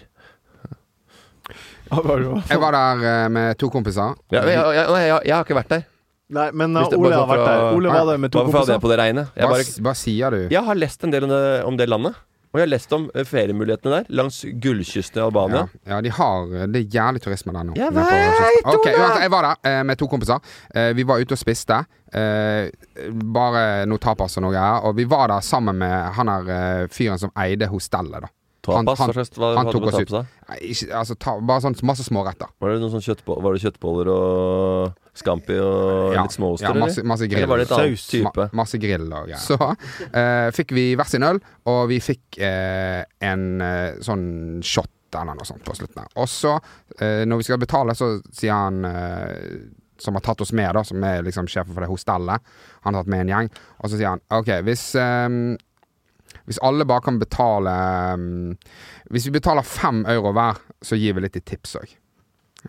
Jeg var der eh, med to kompiser. Ja, men jeg, jeg, nei, jeg, jeg har ikke vært der. Nei, men Hvis uh, det- Ole bare har vært for å- der. Ole var der med to Hvorfor hadde kompiser. jeg på det regnet? Jeg, Hva, bare, s- hva sier du? jeg har lest en del om det, om det landet. Og jeg har lest om eh, feriemulighetene der langs gullkysten i Albania. Ja, ja, de har Det er jævlig turisme der nå. Jeg Nede på vet, kysten. Ok, Ola! uansett, jeg var der eh, med to kompiser. Eh, vi var ute og spiste. Eh, bare noe tapas og noe greier. Og vi var der sammen med han her eh, fyren som eide hostellet, da. Han- Tapas, han- hva slags hva, han hadde tok man oss tapas, da? Nei, Ikke, altså, ta, bare sånn masse småretter. Var det noen sånn kjøttbo- var det kjøttboller og scampi og Ja, litt småoster? ja, masse- eller? masse grill. Eller var det et annet Saus. type? Ma masse grill og greier. Så eh, fikk vi hver sin øl, og vi fikk eh, en eh, sånn shot eller noe sånt på slutten. her. Og så, eh, når vi skal betale, så sier han eh, som har tatt oss med, da, som er liksom sjefen for det hostellet, han har tatt med en gjeng, og så sier han OK, hvis eh, hvis alle bare kan betale eh, Hvis vi betaler fem euro hver, så gir vi litt i tips òg.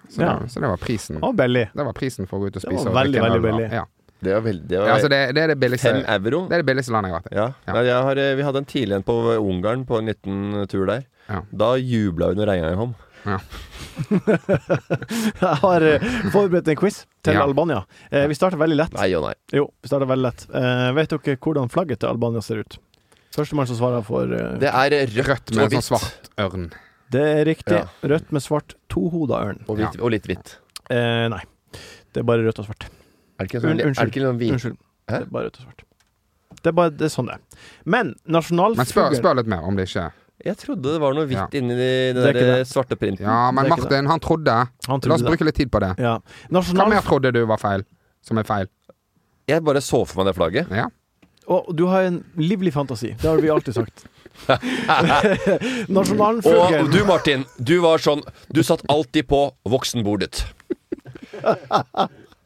Så, Ja. det- så det var prisen. Og Belly. Det var prisen for å gå ut og Det var spise. og veldig, drikke en veldig øl, da. billig. Ja. Det er veldig det Ja, var, altså det, det er det billigste Fem euro? Det er det billigste landet jeg har vært i. Ja. Ja. Nei, Jeg har, eh, vi hadde en tidlig en på Ungarn, på en liten eh, tur der. Ja. Da jubla hun og regna kom. Jeg har eh, forberedt en quiz til Ja. Albania. Eh, vi starter veldig lett. Nei og nei. Jo, vi starter veldig lett. Eh, vet dere hvordan flagget til Albania ser ut? Førstemann som svarer for eh, Det er rødt, Rødt og med en sånn hvitt. svart ørn. Det er riktig. Ja. Rødt med svart tohoda ørn. Og, hvitt, og litt hvitt. Eh, nei. Det er bare rødt og svart. Er det ikke Un- sånn, er unnskyld. det ikke noen hvit? Unnskyld. Hæ? Det er bare rødt og svart. Det er bare det er sånn det er. Men Men spør, nasjonalfugl spør litt mer om det ikke Jeg trodde det var noe hvitt Ja. inni de- den Det er ikke der svarte printen. Ja, men det er ikke Martin, han trodde. Han La oss trodde det. bruke litt tid på det. Ja. Hva mer Nasjonal... trodde du var feil? Som er feil? Jeg bare så for meg det flagget. Ja. Å, du har en livlig fantasi. Det har vi alltid sagt. Og Nasjonalfuglen du, Martin, du var sånn Du satt alltid på voksenbordet.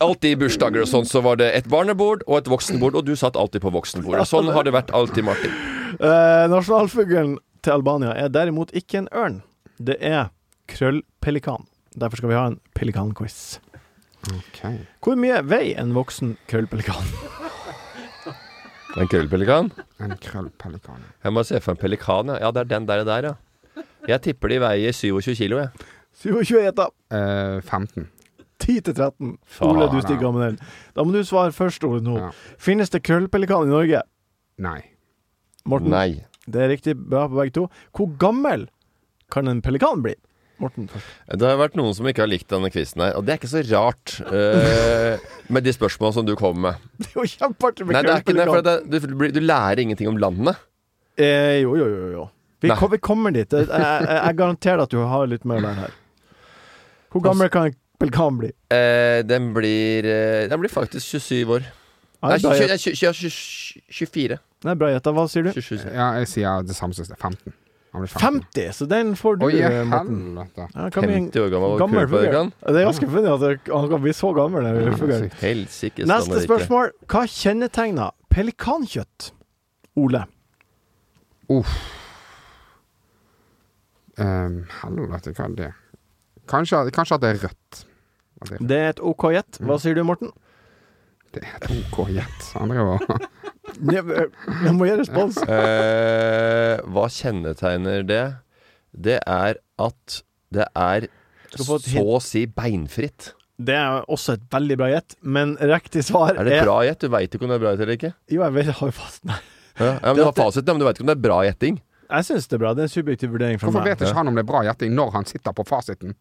Alltid i bursdager og sånn, så var det et barnebord og et voksenbord, og du satt alltid på voksenbordet. Sånn har det vært alltid, Martin. Eh, Nasjonalfuglen til Albania er derimot ikke en ørn. Det er krøllpelikan. Derfor skal vi ha en pelikanquiz. Okay. Hvor mye veier en voksen krøllpelikan? En krøllpelikan? En krøllpelikan. Jeg må se for en pelikan, ja. Ja, det er den der, der ja. Jeg tipper de veier 27 kilo, jeg. 27 gjetta. Eh, 15. 10 til 13. Faen, Ole, du ja. stikker av med den. Da må du svare først, Ole, nå. Ja. Finnes det krøllpelikan i Norge? Nei. Morten, det er riktig bra på begge to. Hvor gammel kan en pelikan bli? Morten først. Det har vært noen som ikke har likt denne quizen her, og det er ikke så rart eh, med de spørsmålene som du kommer med. Det er jo kjempeartig med Nei, det er ikke det, for krøllpelikan. det, du, blir- du lærer ingenting om landet. Eh, jo, jo, jo. jo. Vi, Nei. kom, vi kommer dit. Jeg, jeg, jeg garanterer at du har litt mer der her. Hvor Altså- gammel kan en pelikan bli? Eh, den, blir, eh, den blir faktisk 27 år. Ja, Nei, det er bra gjett. 20, 20, 24. Det er bra gjetta. Hva sier du? 27. Ja, jeg sier det samme som det. 15. Han blir 15. 50, så den får du, Oi, eh, Morten. helvete. Ja, kan bli en 50 år gammel gammel fugl. kullpelikan. Det er ganske funnig at det- han kan bli så gammel. Den fuglen. Helsikes Neste land og rike. spørsmål. Hva kjennetegner pelikankjøtt? Ole. Um, helvete, hva er det? Kanskje, kanskje at det er rødt. At det er, Det er et OK gjett. Hva sier du, Morten? det er et OK gjett. Han driver og Jeg må gi respons. Eh, hva kjennetegner det? Det er at det er Skal få så et hint. å si beinfritt. Det er også et veldig bra gjett, men riktig svar Er det bra gjett? Du veit ikke om det er bra gjett eller ikke. Jo, jeg vet, har jo fast Nei. Ja, ja, men Du har fasiten, men du veit ikke om det er bra gjetting. Jeg syns det er bra. Det er en subjektiv vurdering fra Hvorfor meg. vet ikke han om det er bra gjetting når han sitter på fasiten?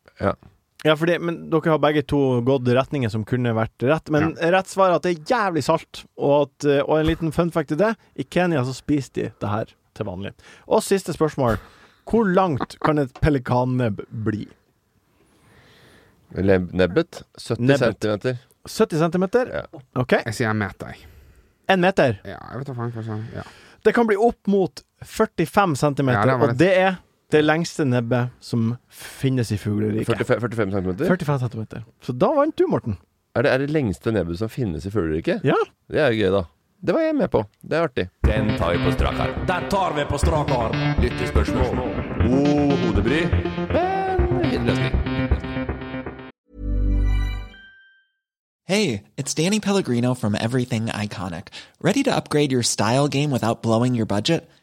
Ja, fordi, men Dere har begge to gått retninger som kunne vært rett, men rett svar er at det er jævlig salt. Og, at, eh, og en liten fun fact til det I Kenya så spiser de det her til vanlig. Og siste spørsmål. Hvor langt kan et pelikannebb bli? Leb- Nebbet. 70 Nebbet. centimeter. 70 cm? Ja. OK. Jeg sier en meter, jeg. Én meter. Ja, jeg vet da faen hva jeg sa. Ja. Det kan bli opp mot 45 cm, Ja, det var og det er det lengste nebbet som finnes i fugleriket. 45, 45 centimeter? 45 cm. Så da vant du, Morten. Er det, er det lengste nebbet som finnes i fugleriket? Ja. Det er jo gøy, da. Det var jeg med på. Det er artig. Den tar vi på strak arm. Der tar vi på strak arm. Lyttespørsmål. God hodebry, men innløsning. Hey, it's Danny Pellegrino from Everything Iconic. Ready to upgrade your style game without blowing your budget?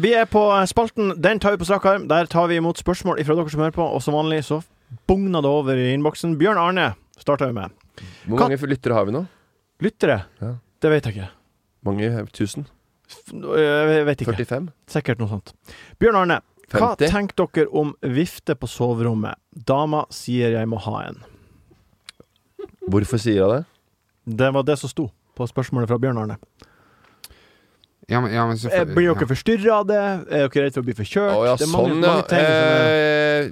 Vi er på eh, spalten Den tar vi på strak arm. Der tar vi imot spørsmål ifra dere som hører på, og som vanlig så bugner det over i innboksen. Bjørn Arne starter vi med. Hvor Kan- mange lyttere har vi nå? Lyttere? Ja. Det vet jeg ikke. Mange tusen? F- Jeg vet ikke. 45? Sikkert noe sånt. Bjørn Arne, hva 50? tenker dere om vifte på soverommet? Dama sier jeg må ha en. Hvorfor sier jeg det? Det var det som sto på spørsmålet fra Bjørn Arne. Ja, men, ja, men Eh, selvfølgelig- Blir ja. dere forstyrra av det? Er dere redd for å bli forkjørt? Å ja, det er mange, sånn, mange ting som er Eh,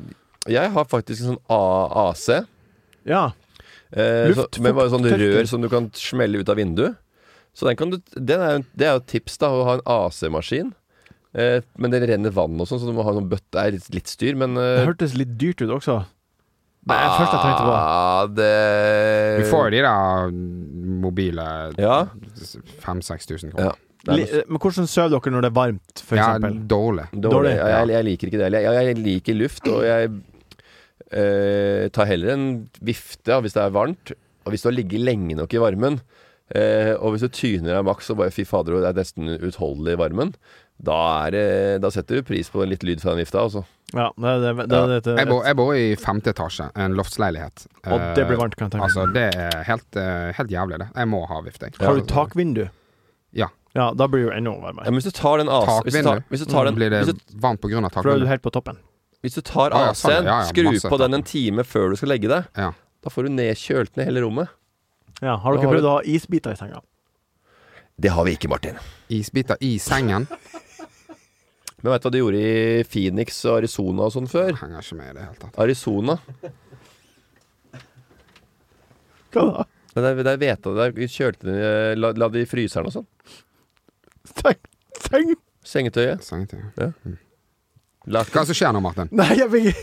jeg har faktisk en sånn A AC. Ja. Eh, så, Luft- med bare sånn fukttørker. rør som du kan smelle ut av vinduet. Så den kan du, den er, jo- det er jo et tips, da, å ha en AC-maskin. Eh, men det renner vann og sånn, så du må ha sånn bøtte. Det er litt, litt styr, men Det eh, hørtes litt dyrt ut også. Det er først jeg tenkte på. ah, det Du får jo de der mm, mobile Ja. 5000-6000 Ja. kroner. Det er Li, noe men hvordan sover dere når det er varmt, for Ja, eksempel? dårlig. Dårlig. Dårlig, Ja, jeg, jeg liker ikke det. Jeg, jeg, jeg liker luft, og jeg eh, tar heller en vifte ja, hvis det er varmt. Og hvis du har ligget lenge nok i varmen, eh, og hvis du tyner deg maks og bare fy fader, det er nesten uutholdelig i varmen, da, er, det- da setter du pris på litt lyd fra den vifta, altså. Ja, det, det, det, det, det, Jeg bor, jeg bor i femte etasje, en loftsleilighet. og det blir Eh, varmt, kan jeg tenke meg. Altså, det er helt, eh, helt jævlig, det. Jeg må ha vifte. jeg. Har du takvindu? Ja. Ja, da blir det jo enda Ja, varmere. men hvis du tar den AC hvis du tar, Takvindu. hvis du tar den, Mm, Blir det hvis du, varmt på grunn av For da er du takvindu? helt på toppen. hvis du tar Ah, ja, sånn, AC-en, ja, ja, skru masse på den en time før du skal legge deg, Ja. da får du ned kjølt ned hele rommet. Ja, har Da har dere du- prøvd å ha isbiter i senga? Det har vi ikke, Martin. Isbiter i sengen? Men veit du hva de gjorde i Phoenix og Arizona og sånn før? Jeg henger ikke med i det hele tatt. Arizona. Hva da? Det der, der hveta der kjølte de eh, la, la de i fryseren og sånn. Seng? Seng? Sengetøyet. Sengetøy. La, Hva er det som skjer nå, Martin? Nei, jeg fikk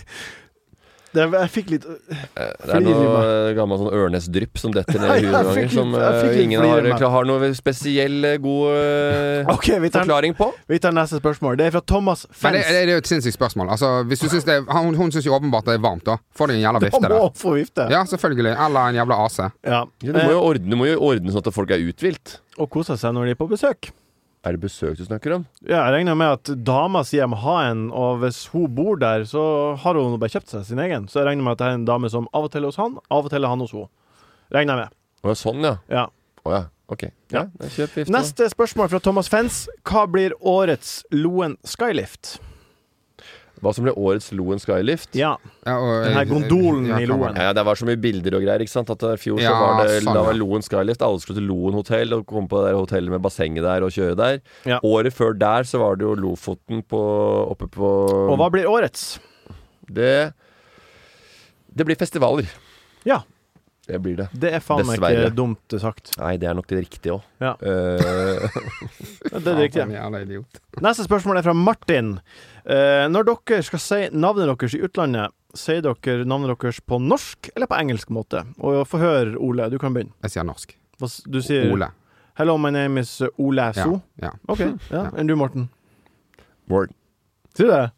det, Jeg fikk litt det er noe eh, gammel sånn ørnesdrypp som detter ned Jeg i huet noen fikk ganger, som litt- jeg eh, fikk litt ingen flir i har, meg. klar- har noe spesiell eh, god eh, OK, vi tar, forklaring på. vi tar neste spørsmål. Det er fra Thomas Men det, Fens. det er jo et sinnssykt spørsmål. Altså, hvis du syns det er, hun, hun syns jo åpenbart det er varmt, da. Får deg en jævla vifte Han må der. få vifte. Ja, selvfølgelig. Eller en jævla AC. Ja. Ja, du, må jo ordne, du må jo ordne sånn at folk er uthvilt. Eh, Og kose seg når de er på besøk. Er det besøk du snakker om? Ja, jeg regner med at dama sier jeg må ha en, og hvis hun bor der, så har hun bare kjøpt seg sin egen. Så jeg regner med at det er en dame som av og til er hos han, av og til er han hos hun Regner jeg med. Å, sånn, ja. Ja. Å ja. Ok. Ja, da kjøp vifta. Neste spørsmål fra Thomas Fens. Hva blir årets Loen Skylift? Hva som ble årets Loen Skylift? Ja. og- Den her gondolen i Loen. Ja, det var så mye bilder og greier, ikke sant. At I fjor så Ja, var det sånn, da var ja. Loen Skylift. Alle skulle til Loen hotell og komme på det der hotellet med bassenget der og kjøre der. Ja. Året før der så var det jo Lofoten på, oppe på Og hva blir årets? Det Det blir festivaler. Ja. Det blir det. Det er faen meg Dessverre. ikke dumt sagt. Nei, det er nok det riktige Eh, òg. Ja. Det er det Faen, riktige. en jævla idiot. Neste spørsmål er fra Martin. Eh, når dere skal si navnet deres i utlandet, sier dere navnet deres på norsk eller på engelsk måte? Og få høre, Ole, du kan begynne. Jeg sier norsk. Hva s- Du sier Ole. Hello, my name is uh, Ole Ja, So. ja. OK. Ja. Ja. Enn du, Morten? Morten. Sier du det?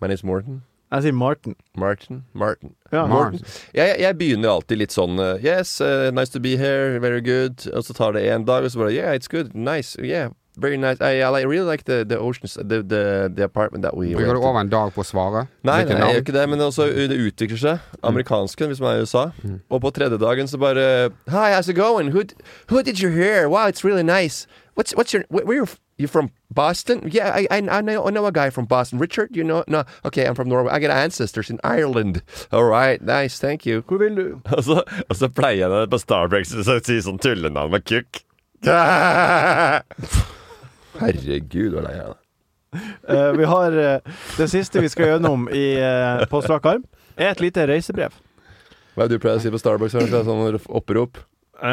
My name is Morten. Jeg sier Martin. Martin. Martin. Ja. Mars. Jeg, jeg begynner jo alltid litt sånn eh, Yes, eh, nice to be here, very good Og så tar det en dag, og så bare Yeah, it's good, nice, yeah, very nice I, I like- really like the, the oceans, the, the, the apartment that we Bruker du rented. over en dag på å svare? Nei, nei, jeg Hvilke gjør er navn? ikke det, men også, det utvikler seg. Amerikansken, hvis man er i USA. Og på tredje dagen så bare Hi, how's it going? Who, d- who did you hear? Wow, it's really nice. What's, what's your where, where you f- you from? Boston? Yeah, I, I, I, know, I know a guy from Boston. Richard, you know? No, okay, I'm from Norway. I got ancestors in Ireland. All right, nice, thank you. Hvor vil du? Og så, og så pleier jeg det på Starbreaks å si sånn tullenavn med kukk. Herregud, hvor lei jeg er. Eh, vi har eh, Det siste vi skal gjennom i, eh, på strak arm, er et lite reisebrev. Hva er det du pleier å si på Starbucks? Ørnes? Det er Sånn opprop?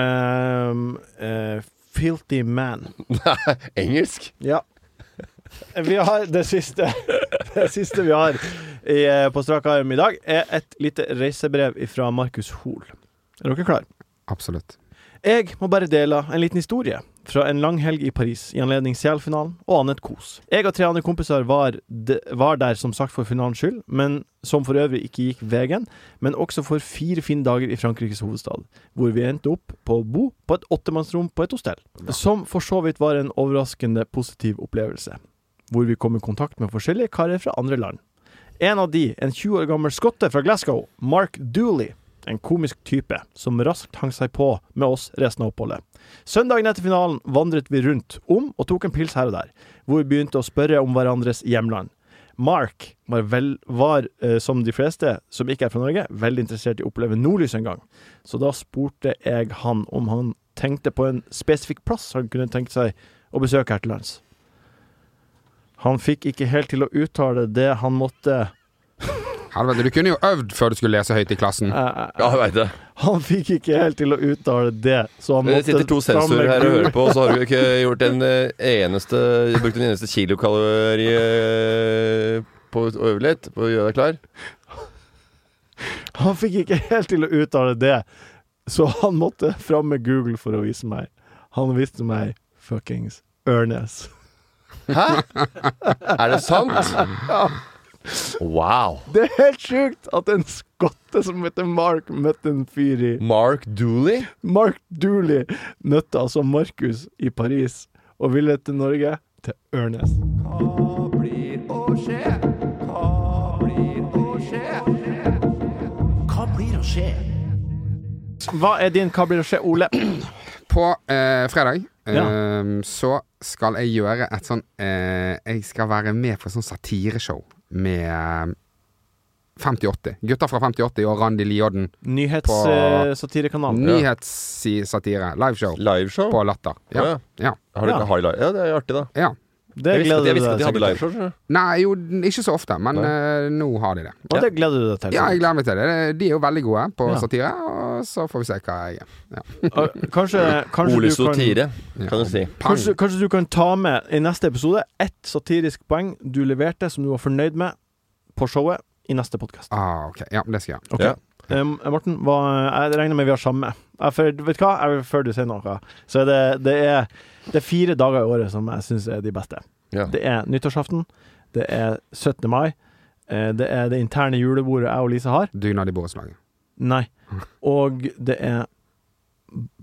Ehm, eh, filthy man. Engelsk? Ja. Vi har det siste Det siste vi har i, eh, på strak arm i dag, er et lite reisebrev fra Markus Hoel. Er dere klare? Absolutt. Jeg må bare dele en liten historie fra en lang helg i Paris i anledning CL-finalen og annet kos. Jeg og tre andre kompiser var, de, var der som sagt for finalens skyld, men som for øvrig ikke gikk veien, men også for fire fine dager i Frankrikes hovedstad, hvor vi endte opp på å bo på et åttemannsrom på et hostell, som for så vidt var en overraskende positiv opplevelse, hvor vi kom i kontakt med forskjellige karer fra andre land. En av de, en 20 år gammel skotte fra Glasgow, Mark Dooley, en komisk type som raskt hang seg på med oss resten av oppholdet. Søndagen etter finalen vandret vi rundt om og tok en pils her og der, hvor vi begynte å spørre om hverandres hjemland. Mark var, vel, var eh, som de fleste som ikke er fra Norge, veldig interessert i å oppleve nordlys en gang, så da spurte jeg han om han tenkte på en spesifikk plass han kunne tenkt seg å besøke her til lands. Han fikk ikke helt til å uttale det han måtte Helvete, du kunne jo øvd før du skulle lese høyt i eh, klassen. Ja, jeg veit det. Han fikk ikke helt til å uttale det, så han Det måtte sitter to sensorer her og hører på, og så har du ikke gjort en eh, eneste brukt en eneste kilokalori eh, på å øve litt, på å gjøre deg klar. Han fikk ikke helt til å uttale det, så han måtte fram med Google for å vise meg. Han viste meg fuckings Ørnes. Er det sant? Wow. Det er helt sjukt at en skotte som heter Mark, møtte en fyr i Mark Dooley? Mark Dooley møtte altså Markus i Paris og ville til Norge, til Ørnes. Hva blir å skje? Hva blir å skje? Hva blir å skje? Hva er din Hva blir å skje, Ole? På eh, fredag eh, Ja. så skal jeg gjøre et sånn eh, Jeg skal være med på et sånt satireshow med eh, 5080. Gutter fra 5080 og Randi Liodden. eh, På- Nyhetssatirekanal. Nyhetssatire. Liveshow Liveshow? på Latter. Ja. Ja. ja. Har de, Ja. har de, live- ja, det er jo artig, da. ja. Det Jeg visste, gleder jeg du visste deg ikke at de hadde sikkert liveshow. skjønner du. Nei, jo, ikke så ofte, men eh, nå har de det. Og det gleder du deg til. Ja, jeg gleder meg til det. De er jo veldig gode på Ja. satire, og så får vi se hva jeg er. Ja. Og Kanskje, kanskje Ole du kan Sotire, kan du si. Pang. Kanskje, kanskje du kan ta med i neste episode ett satirisk poeng du leverte som du var fornøyd med på showet i neste podkast. Ah, ok. Ja, det skal jeg gjøre. Ok. Ja. Um, Morten, hva, jeg regner med vi har samme. Jeg, for, vet du hva? Jeg, før du sier noe, så er det, det, er, det er fire dager i året som jeg syns er de beste. Ja. Det er nyttårsaften, det er 17. mai, eh, det er det interne julebordet jeg og Lise har. Dugnad i borettslaget. Nei. Og det er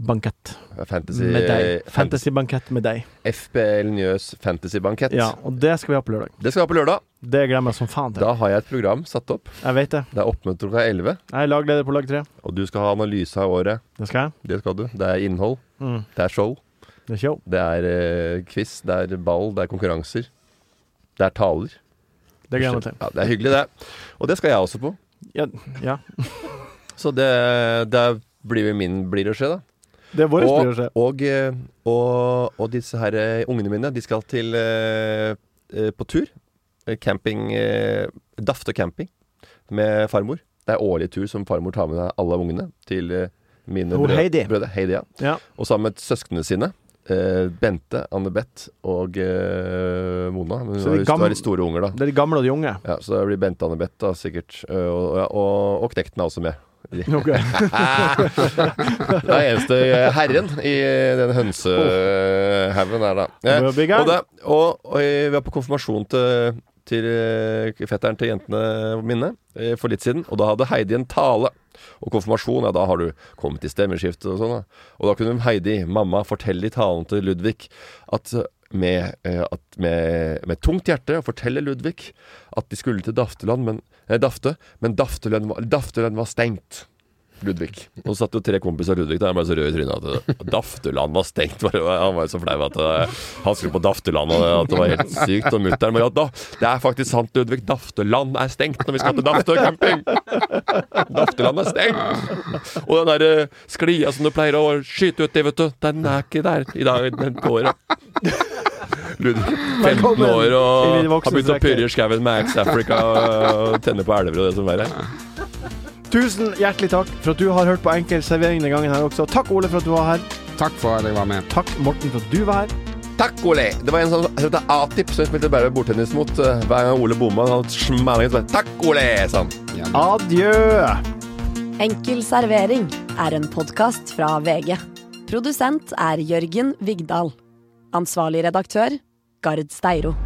bankett Fantasy, med deg. fantasy. Fantasy-bankett med deg. FBL Njøs fantasybankett. Ja, og det skal vi ha på lørdag. Det skal vi ha på lørdag. Det glemmer jeg som faen til. Da har jeg et program satt opp. Jeg vet det. Det er oppmøte klokka 11. Jeg er lagleder på lag tre. Og du skal ha analyse av året. Det skal jeg. Det skal du. Det er innhold. Mm. Det er show. Det er show. Det er eh, quiz. Det er ball. Det er konkurranser. Det er taler. Det gleder jeg meg til. Ja, det er hyggelig, det. Og det skal jeg også på. Ja. ja. Så det, det blir jo min blir å skje, da. Det er vår og, blir å skje. Og, eh, og, og disse her eh, ungene mine, de skal til eh, eh, på tur. Eh, Camping eh, Dafte camping med farmor. Det er årlig tur som farmor tar med alle ungene til eh, mine Hvor brø- Oh, Heidi? brødre. Heidi, ja. Ja. Og sammen med søsknene sine. eh, Bente, Anne-Beth og eh, Mona. Men Så Hun de har lyst til gam- å være store unger, da. Det er de gamle og de unge. Ja, så det blir Bente Anne-Beth da, sikkert. Eh, Og, og- og, og Knekten er også med. Ok. Ah. det er eneste eh, herren i eh, den hønsehaugen der, da. Eh, Nå er vi i gang. Og, det, og, og eh, vi var på konfirmasjon til, til eh, fetteren til jentene mine eh, for litt siden, og da hadde Heidi en tale. Og konfirmasjon, ja, da har du kommet i stemmeskiftet og sånn. da. Og da kunne Heidi, mamma, fortelle i talen til Ludvig at eh, med, eh, at med, med tungt hjerte og fortelle Ludvig at de skulle til Dafteland, men, eh, Dafte, men Daftelønn var, Daftelønn var stengt. Ludvig. Og så satt jo tre kompiser av Ludvig der, han ble så rød i trynet at eh, Dafteland var stengt. Bare, han var jo så flau at eh, han skulle på Dafteland, og at det var helt sykt. Og mutter'n bare ja, da, Det er faktisk sant, Ludvig. Dafteland er stengt når vi skal til Dafte camping. Dafteland er stengt. Og den der eh, sklia som du pleier å skyte ut i, vet du, den er ikke der i dag. Den går av. Ludvig, 15 Velkommen år inn i og de har voksnes begynt å rekker. purre i skauen med Axe Africa og tenne på elver og det som verre er. Tusen hjertelig takk for at du har hørt på Enkel servering denne gangen her også. Takk, Ole, for at du var her. Takk for at jeg var med. Takk, Morten, for at du var her. Takk, Ole! Det var en som het A-tip, som jeg spilte bare bordtennis mot. eh, Hver gang Ole bomma, han smellet sånn Takk, Ole! sa han. Adjø. Enkel servering er en podkast fra VG. Produsent er Jørgen Vigdal. Ansvarlig redaktør, Gard Steiro.